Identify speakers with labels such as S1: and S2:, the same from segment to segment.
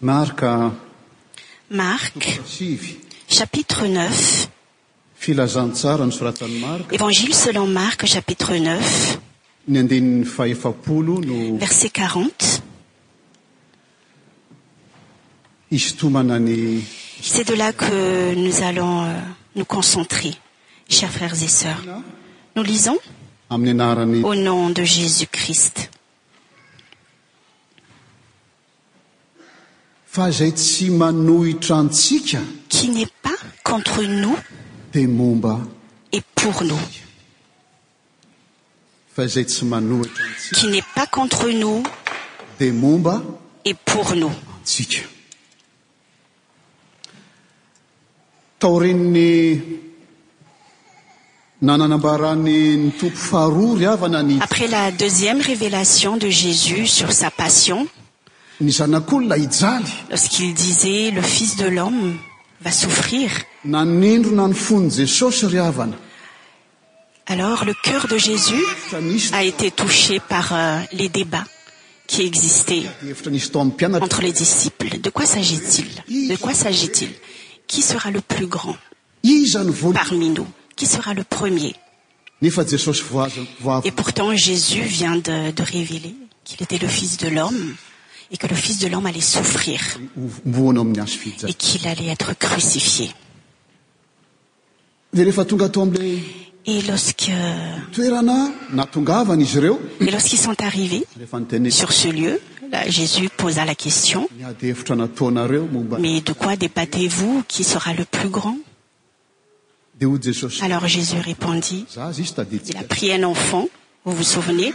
S1: Marka
S2: Marc,
S1: 5,
S2: chapitre 9.
S1: filazantsara ny soratan'ny marka
S2: Évangile selon Marc, chapitre 9,
S1: ny andininy faefapolo no
S2: verset 40.
S1: isitomana ny
S2: C'est de là que nous allons euh, nous concentrer, chers frères et sœurs. Nous lisons
S1: amin'ny anarany
S2: au nom de Jésus-Christ.
S1: fa izay tsy manohitra antsika
S2: Qui n'est pas contre nous
S1: dia momba
S2: et pour nous.
S1: fa izay tsy manohitra antsika
S2: Qui n'est pas contre nous
S1: dia momba
S2: et pour nous.
S1: antsika taorin'ny nananambarany ny tompo faharoa ry avana ny
S2: Après la deuxième révélation de Jésus sur sa passion,
S1: ny zanak'olona hijaly
S2: lorsqu'il disait le Fils de l'homme va souffrir,
S1: nanindrona ny fony jesosy ry avana
S2: alors le cœur de Jésus
S1: Hevitra nisy
S2: a été touché par euh, les débats qui existaient
S1: hevitra nisy tao amin'ny mpianatra
S2: entre les disciples. De quoi s'agit-il De quoi s'agit-il Qui sera le plus grand
S1: iza ny voly
S2: parmi nous Qui sera le premier
S1: nefa jesosy voaza-
S2: Et
S1: voavy
S2: pourtant Jésus vient de, de révéler qu'il était le Fils de l'homme et que le Fils de l'homme allait souffrir
S1: mboana amin'ny azy fija
S2: et qu'il allait être crucifié.
S1: dia rehefa tonga atao am'la
S2: Et lorsque euh,
S1: toerana natongavana izy ireo
S2: et lorsqu'ils sont arrivés
S1: rehefa niteny
S2: sur ce lieu, là, Jésus posa la question
S1: ny ady hevitra nataonareo momba
S2: mais de quoi débattez-vous Qui sera le plus grand
S1: dia hoy jesosy
S2: Alors Jésus répondit
S1: za izy izy
S2: Il a
S1: tadidika
S2: pris un enfant, vous vous souvenez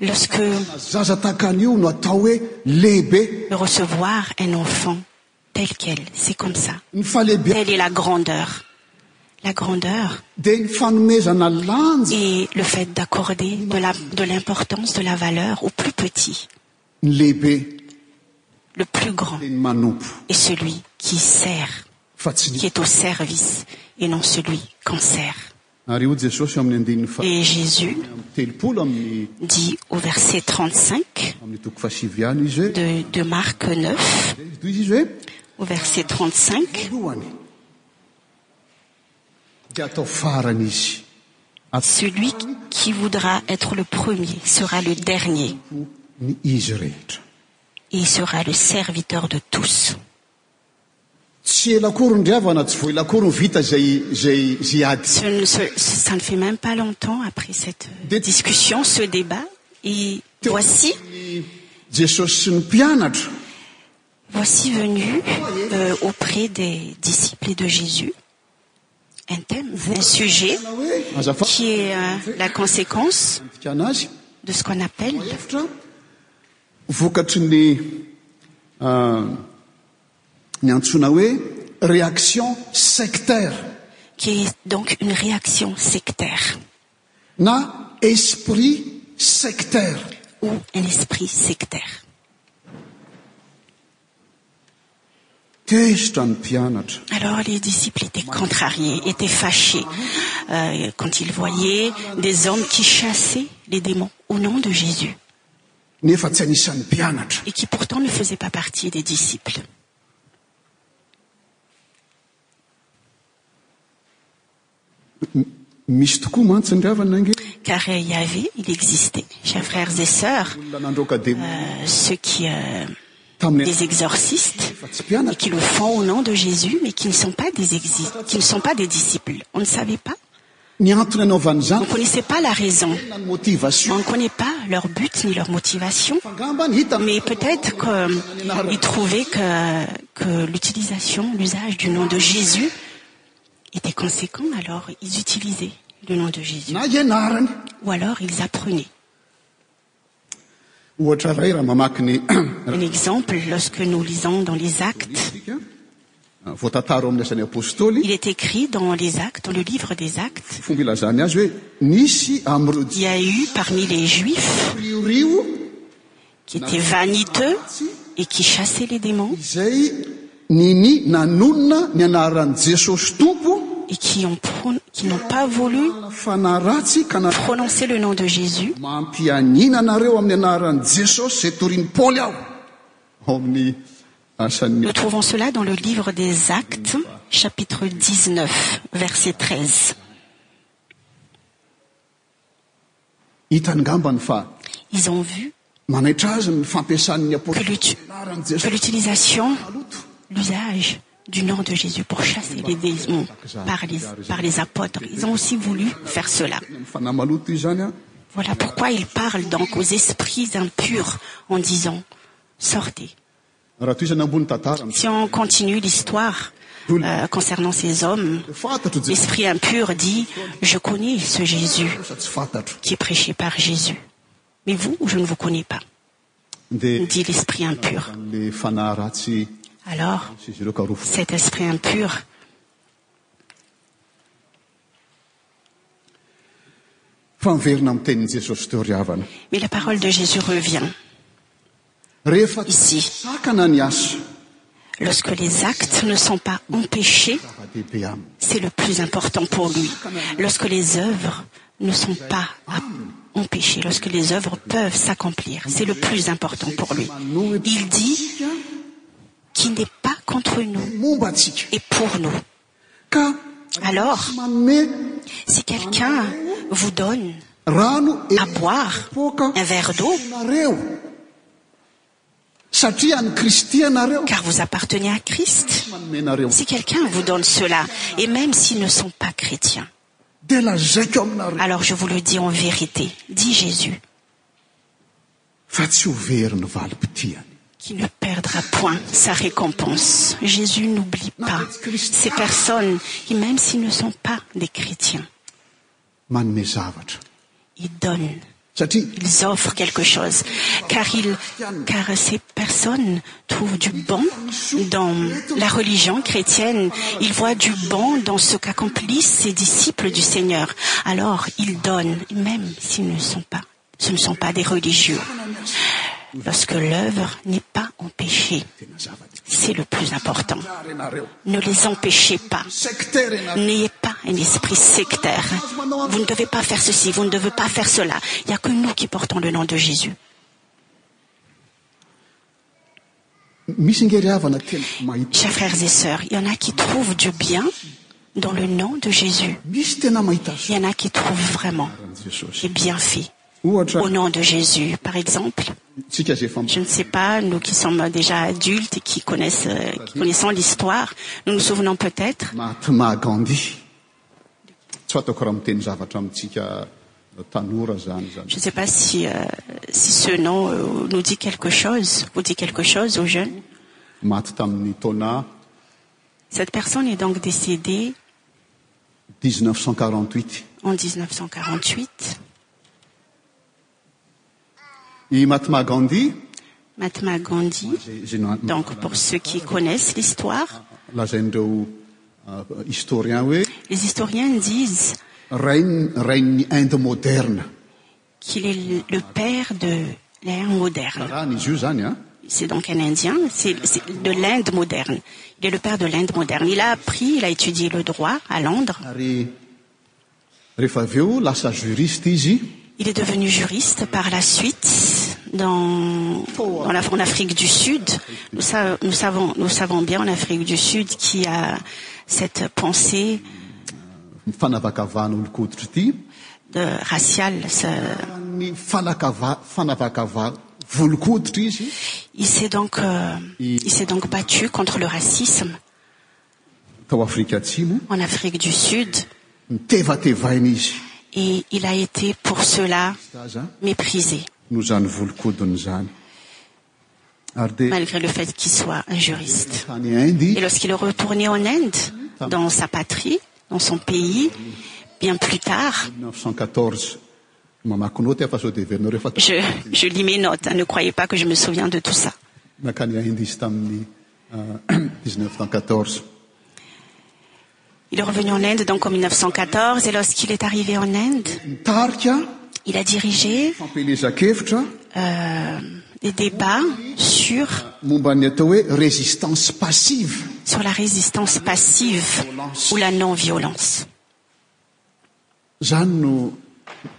S2: Lorsque
S1: zaza tahaka an'io no atao hoe lehibe
S2: recevoir un enfant tel quel, c'est comme ça.
S1: ny fahalehibe
S2: Telle est la grandeur. La grandeur
S1: dia ny fanomezana lanja
S2: et le fait d'accorder de la- de l'importance, de, la valeur au plus petit,
S1: ny lehibe
S2: le plus grand,
S1: dia ny manompo
S2: est celui qui sert,
S1: fa tsy
S2: qui
S1: ny
S2: est au service, et non celui qu'on sert.
S1: ary hoy jesosy amin'ny andininy fa
S2: Et Jésus
S1: amin'ny telopolo amin'ny
S2: dit au verset 35
S1: amin'ny toko fasivy ihany izy hoe
S2: de, de Marc 9,
S1: dia izy- izy hoe
S2: au verset 35,
S1: lohany dia atao farany izy
S2: celui qui voudra être le premier sera le dernier
S1: atao ny izy rehetra
S2: et sera le serviteur de tous.
S1: tsy elakory ny riavana tsy voelakory ny vita zay zay zay ady
S2: Ce ne- ce- ce- ça ne fait même pas longtemps après cette euh,
S1: Des-
S2: discussion, ce débat. Et
S1: Teo-
S2: voici,
S1: Ny jesosy sy ny mpianatra
S2: voici venu euh, auprès des disciples et de Jésus un thème, un sujet
S1: na hoe azafady
S2: qui est euh, la conséquence
S1: anazy
S2: de ce qu'on appelle
S1: hevitra vokatry ny ah, ny antsoina hoe réaction sectaire
S2: qui est donc une réaction sectaire
S1: na esprit sectaire
S2: ou un esprit sectaire.
S1: tezitra ny mpianatra
S2: Alors les disciples étaient contrariés, étaient fâchés euh, quand ils voyaient des hommes qui chassaient les démons au nom de Jésus.
S1: nefa tsy anisan'ny mpianatra
S2: et qui pourtant ne faisait pas partie des disciples.
S1: misy tokoa mantsy ny ravana ange
S2: Car euh, il y avait, il existait, chers frères et sœurs,
S1: olona nandroka demona
S2: euh, ceux qui, euh,
S1: tamin'ny
S2: des exorcistes,
S1: fa tsy
S2: et
S1: mpianatra
S2: qui le font au nom de Jésus, mais qui ne sont pas des exi- qui ne sont pas des disciples. On ne savait pas.
S1: ny antony anaovany
S2: On
S1: zany
S2: ne connaissait pas la raison.
S1: na ny
S2: On
S1: motivation
S2: ne connaît pas leur but ni leur motivation.
S1: angamba ny hita
S2: Mais peut-être qu'ils trouvaient que, que l'utilisation, l'usage du nom de Jésus était conséquent, alors ils utilisaient le nom de Jésus.
S1: na ianarany
S2: Ou alors ils apprenaient.
S1: ohatra ray raha mamaky ny
S2: Un exemple, lorsque nous lisons dans les actes,
S1: Ah, voatantaro amin'ny asan'ny apôstôly
S2: il est écrit dans les actes, dans le livre des actes,
S1: fomba ilazany azy hoe nisy am'ireo
S2: il y a eu parmi les juifs
S1: jiriorio
S2: qui étaient vaniteux et qui chassaient les démons
S1: izay niny nanonona ny anaran'i jesosy tompo
S2: et qui ont pro- qui n'ont pas voulu
S1: fanaratsy ka na
S2: prononcer le nom de Jésus.
S1: mampianinanareo amin'ny anaran'i jesosy zay toriany paoly aho ao amin'ny asan'ny
S2: Nous trouvons cela dans le livre des Actes, chapitre 19, verset 13.
S1: hitany ngambany fa
S2: Ils ont vu
S1: manaitra azy ny fampiasan'ny
S2: que
S1: apôstôly
S2: l'uti-
S1: anaran'i
S2: que
S1: Jesosy
S2: l'utilisation,
S1: maloto
S2: l'usage du nom de Jésus pour chasser les démons par les, par les apôtres, ils ont aussi voulu faire cela.
S1: Tena ny fanahy maloto izy zany a
S2: Voilà pourquoi il parle donc aux esprits impurs en disant sortez.
S1: raha toy izany ambony tantara
S2: Si on continue l'histoire euh, concernant ces hommes,
S1: fantatro Jesosy
S2: l'esprit impur dit je connais ce Jésus
S1: sa tsy fantatro
S2: qui est prêché par Jésus. Mais vous, je ne vous connais pas,
S1: dia
S2: dit l'esprit impur.
S1: le fanahy ratsy
S2: Alors,
S1: sy izy ireo karofo
S2: cet esprit impur
S1: fa miverina amin'ny tenin'i Jesosy teo ry havana
S2: Mais la parole de Jésus revient.
S1: rehefa
S2: Ici.
S1: sakana ny asa
S2: Lorsque les actes ne sont pas empêchés,
S1: zava-dehibe aminy
S2: c'est le plus important pour lui. Lorsque les œuvres ne sont pas à- empêchées, lorsque les œuvres peuvent s'accomplir, c'est le plus important pour lui. Il dit qu'il n'est pas contre nous
S1: momba antsika
S2: et pour nous.
S1: ka
S2: Alors,
S1: tsy manome
S2: si quelqu'un vous donne
S1: rano
S2: à boire
S1: poka
S2: un verre d'eau,
S1: nareo satria ny kristy anareo
S2: car vous appartenez à Christ,
S1: manomenareo
S2: si quelqu'un vous donne cela, et même s'ils ne sont pas chrétiens,
S1: dia lazaiko aminareo
S2: Alors je vous le dis en vérité, dit Jésus,
S1: fa tsy ho very ny valim-pitiany
S2: qui ne perdra point sa récompense. Jésus n'oublie pas ces personnes qui, même s'ils ne sont pas des chrétiens,
S1: manome zavatra
S2: ils donnent,
S1: satria
S2: ils offrent quelque chose, car, ils, car ces personnes trouvent du bon dans la religion chrétienne, ils voient du bon dans ce qu'accomplissent ces disciples du Seigneur. Alors ils donnent, même s'ils ne sont pas, ce ne sont pas des religieux. lorsque l'œuvre n'est pas empêchée.
S1: tena zavatra
S2: C'est le plus important.
S1: ary anareo
S2: Ne les empêchez pas.
S1: secteur ianareo
S2: N'ayez pas un esprit sectaire. Vous ne devez pas faire ceci, vous ne devez pas faire cela. Il n'y a que nous qui portons le nom de Jésus.
S1: misy ngery havana tena mahita
S2: Chers frères et sœurs, il y en a qui trouvent du bien dans le nom de Jésus.
S1: misy tena mahita azy
S2: Il y en a qui trouvent vraiment
S1: Anaran'i Jesosy
S2: des bienfaits
S1: ohatra
S2: au nom de Jésus. Par exemple,
S1: tsika izay fa
S2: je ne sais pas, nous qui sommes déjà adultes et qui connaissent, euh, qui connaissons l'histoire, nous nous souvenons peut-être
S1: mahatma gandi tsy atako raha miteny zavatra amintsika tanora zany zany
S2: Je ne sais pas si, euh, si ce nom euh, nous dit quelque chose, vous dit quelque chose aux jeunes.
S1: maty tamin'ny taona
S2: Cette personne est donc décédée
S1: 1948
S2: en 1948.
S1: i mahatma gandi
S2: Mahatma Gandhi,
S1: zay- zay no-
S2: donc pour ceux qui connaissent l'histoire,
S1: lazain'ireo euh, historien hoe
S2: les historiens disent
S1: rainy rain'ny inde moderne
S2: qu'il est le père de l'ère moderne.
S1: rahany izy io zany a
S2: C'est donc un Indien, c'est c'est de l'Inde moderne. Il est le père de l'Inde moderne. Il a appris, il a étudié le droit à Londres.
S1: ary rehefa avy eo lasa juriste izy
S2: Il est devenu juriste par la suite dans, dans la- en Afrique du Sud. Nous, sa- nous savons, nous savons bien en Afrique du Sud qui a cette pensée
S1: fanavakavahana olon-koditra ity
S2: de raciale. ce-
S1: ny fanakava- fanavakava volokoditra izy
S2: Il s'est donc, euh, il s'est donc battu contre le racisme
S1: tao afrika atsimo
S2: en Afrique du Sud
S1: nitevatevaina izy
S2: et il a été pour cela
S1: aza
S2: méprisé
S1: no zany volokodiny zany ary dia
S2: malgré le fait qu'il soit un juriste.
S1: tany indy
S2: Et lorsqu'il est retourné en Inde, dans sa patrie, dans son pays, bien plus tard,
S1: 1914 mamaky noty afa sao deverinao rehefa t-
S2: Je, je lis mes notes, hein, ne croyez pas que je me souviens de tout ça.
S1: nakany indy izy tamin'ny euh, 1914
S2: Il est revenu en Inde donc en 1914 et lorsqu'il est arrivé en Inde,
S1: mitarika
S2: il a dirigé
S1: fampelezan-kevitra
S2: euh, des débats sur,
S1: momba ny atao hoe résistance passive
S2: sur la résistance passive ou la non-violence.
S1: zany no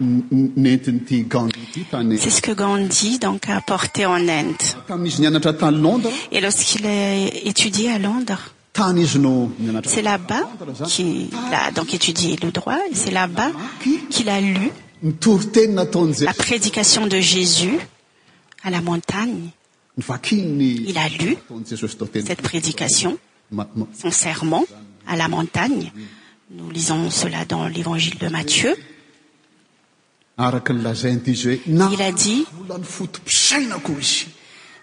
S1: nentin'ity Gandhi ity tany
S2: C'est ce que Gandhi donc a apporté en Inde.
S1: tamin'izy nianatra tany Londres
S2: Et lorsqu'il a étudié à Londres,
S1: tany izy no nianatra
S2: c'est là-bas qu'il a donc étudié le droit, et c'est là-bas qu'il a lu
S1: nitory teny nataony
S2: la
S1: Jesosy
S2: prédication de Jésus à la montagne.
S1: nivakiny
S2: Il a lu
S1: nataony Jesosy tao teny
S2: cette prédication,
S1: Ma- ma-
S2: son serment à la montagne. Nous lisons cela dans l'évangile de Matthieu.
S1: araka ny lazainy ity izy hoe na
S2: Il a dit,
S1: olona ny fotom-pisainako izy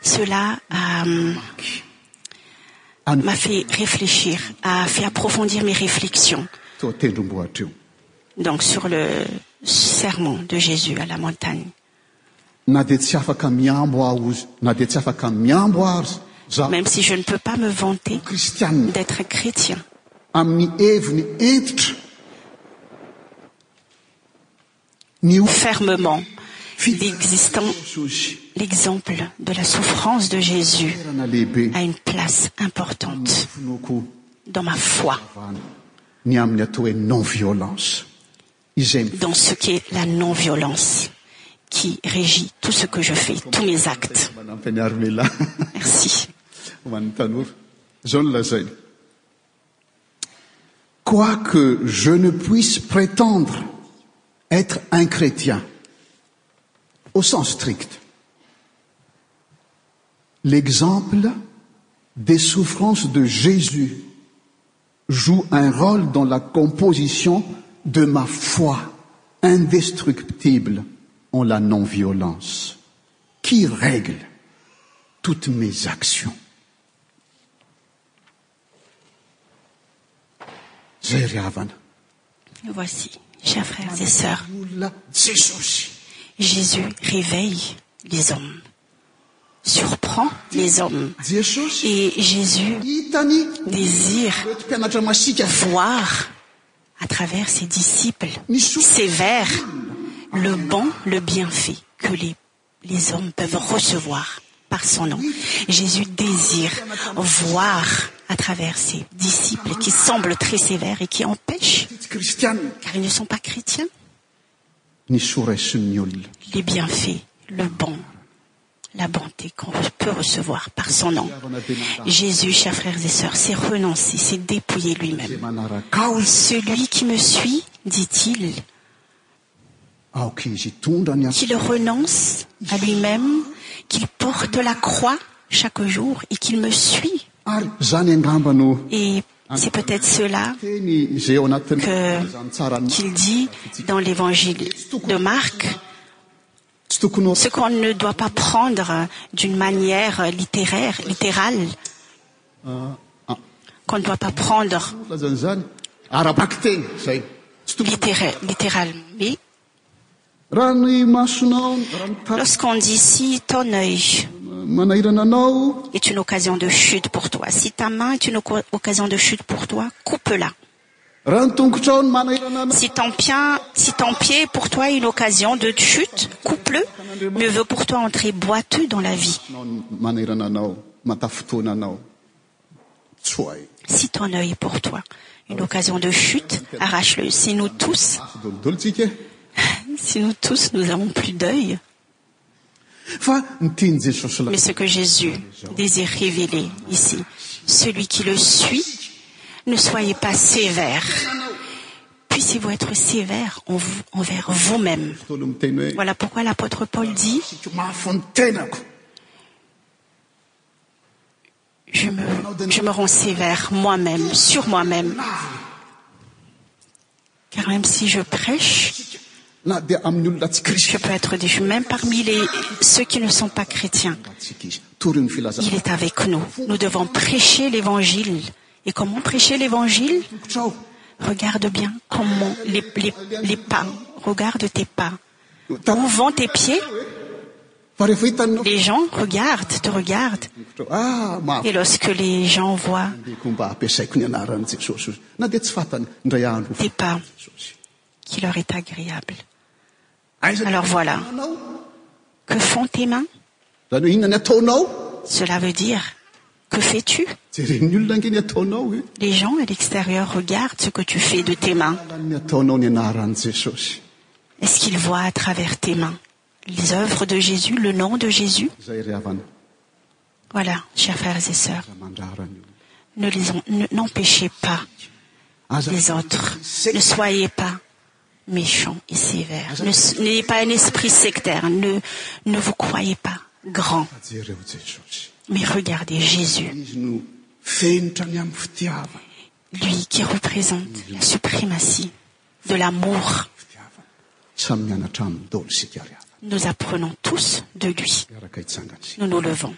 S2: cela euh,
S1: any
S2: m'a fait réfléchir, a fait approfondir mes réflexions
S1: tao tendrombohitra io
S2: donc sur le sermon de Jésus à la montagne.
S1: na dia tsy afaka miambo aho izy na dia tsy afaka miambo ary za
S2: Même si je ne peux pas me vanter
S1: kristianina
S2: d'être chrétien,
S1: amin'ny heviny entitra ny o-
S2: fermement l'existant-
S1: Jesosy
S2: l'exemple de la souffrance de Jésus
S1: toerana lehibe
S2: a une place importante
S1: finoako
S2: dans ma foi,
S1: vana ny amin'ny atao hoe non violence izay
S2: dans ce qu'est la non-violence qui régit tout ce que je fais, tous mes actes.
S1: mifanampy any ary lehilahy
S2: Merci.
S1: ho an'ny tanora zao no lazainy quoique je ne puisse prétendre être un chrétien au sens strict l'exemple des souffrances de jésus joue un rôle dans la composition de ma foi indestructible en la non violence qui règle toutes mes actions zay ry havana
S2: Voici, chers frères et sœurs,
S1: olona jesosy
S2: Jésus réveille les hommes, surprend les hommes.
S1: jesosy
S2: Et Jésus
S1: hitany
S2: désire
S1: reto mpianatra masika fa
S2: voir à travers ses disciples
S1: ny soa
S2: sévères le bon, le bienfait que les, les hommes peuvent recevoir par son nom. Jésus désire voir à travers ses disciples qui semblent très sévères et qui empêchent,
S1: ty kristianina
S2: car ils ne sont pas chrétiens,
S1: ny sorasin'ny olona
S2: les bienfaits, le bon, la bonté qu'on peut recevoir par son nom. Jésus, chers frères et sœurs, s'est renoncé, s'est dépouillé
S1: zay
S2: lui-même.
S1: manarakaozy
S2: Celui qui me suit, dit-il,
S1: aoka izy hitondra ny as
S2: qu'il renonce à lui-même, qu'il porte la croix chaque jour et qu'il me suit.
S1: ary zany angamba no
S2: Et c'est peut-être cela
S1: teny zay ao anatin'ny
S2: Que-
S1: zany tsara ny
S2: qu'il dit dans l'évangile de Marc,
S1: tsy tokony ho
S2: ce qu'on ne doit pas prendre d'une manière littéraire, littérale, qu'on ne doit pas prendre
S1: lazany zany arabaky teny zay tsy tokony
S2: littéra- littéralement. Mais
S1: raha ny masonao raha ny taratra
S2: lorsqu'on dit si ton œil
S1: manahirana anao
S2: est une occasion de chute pour toi, si ta main est une oco- occasion de chute pour toi, coupe-la.
S1: raha ny tongotrao ny manahirana anao
S2: Si ton, pied, si ton pied est pour toi est une occasion de chute, coupe-le. Mieux vaut pour toi entrer boiteux dans la vie.
S1: Nao ny manahirana anao matafotoana anao tsoay
S2: Si ton œil est pour toi une occasion de chute, arrache-le. Si nous tous,
S1: afo dolodolotsika e.
S2: si nous tous, nous avons plus d'œil.
S1: fa ny tiany jesosy la
S2: Mais ce que Jésus désire révéler ici, celui qui le suit, ne soyez pas sévère. Puissiez-vous être sévère en vous- envers vous-même.
S1: tolo miteny hoe
S2: Voilà pourquoi l'apôtre Paul dit,
S1: "Sitro mafy ny tenako
S2: je me, je me rends sévère moi-même, sur moi-même. Car même si je prêche,
S1: na dia amin'ny olona tsy
S2: je
S1: kristy
S2: peux être déchu, même parmi les, ceux qui ne sont pas chrétiens.
S1: ratsika izy tory ny filazana
S2: Il est avec nous. Nous devons prêcher l'évangile. Et comment prêcher l'évangile
S1: tongotrao
S2: Regarde bien comment les, les- les pas. Regarde tes pas. Où vont tes pieds
S1: fa rehefa hitanao
S2: Les gens regardent, te regardent.
S1: tongotrao ah mafy
S2: Et lorsque les gens voient
S1: ndeko mba ampiasaiko ny anaran'i jesosy ozy na dia tsy fantany indray andro
S2: tes pas, qui leur est agréable.
S1: Aiza-
S2: Alors voilà.
S1: Anao.
S2: Que font tes mains
S1: zany hoe inona ny ataonao
S2: Cela veut dire, que fais-tu
S1: jereny olona angeny ataonao e
S2: Les gens à l'extérieur regardent ce que tu fais de tes mains.
S1: Alalan'ny ataonao ny anaran'i jesosy
S2: Est-ce qu'il voit à travers tes mains les œuvres de Jésus, le nom de Jésus
S1: Zaire Yavan,
S2: Voilà, chers frères et sœurs,
S1: Zamandara Nyu.
S2: ne les en- ne- n'empêchez pas
S1: As
S2: les
S1: a-
S2: autres. Ne soyez pas méchants et sévères. Ne s- N'ayez pas un esprit sectaire. Ne, ne vous croyez pas grand.
S1: Zaire Uzechochi.
S2: Mais regardez Jésus,
S1: Iznu fentanya mftiava.
S2: lui qui représente la suprématie de l'amour.
S1: Mftiava. Samyana tam dolsi kiariava.
S2: Nous apprenons tous de lui.
S1: Yaraka itsangatsi.
S2: Nous nous levons.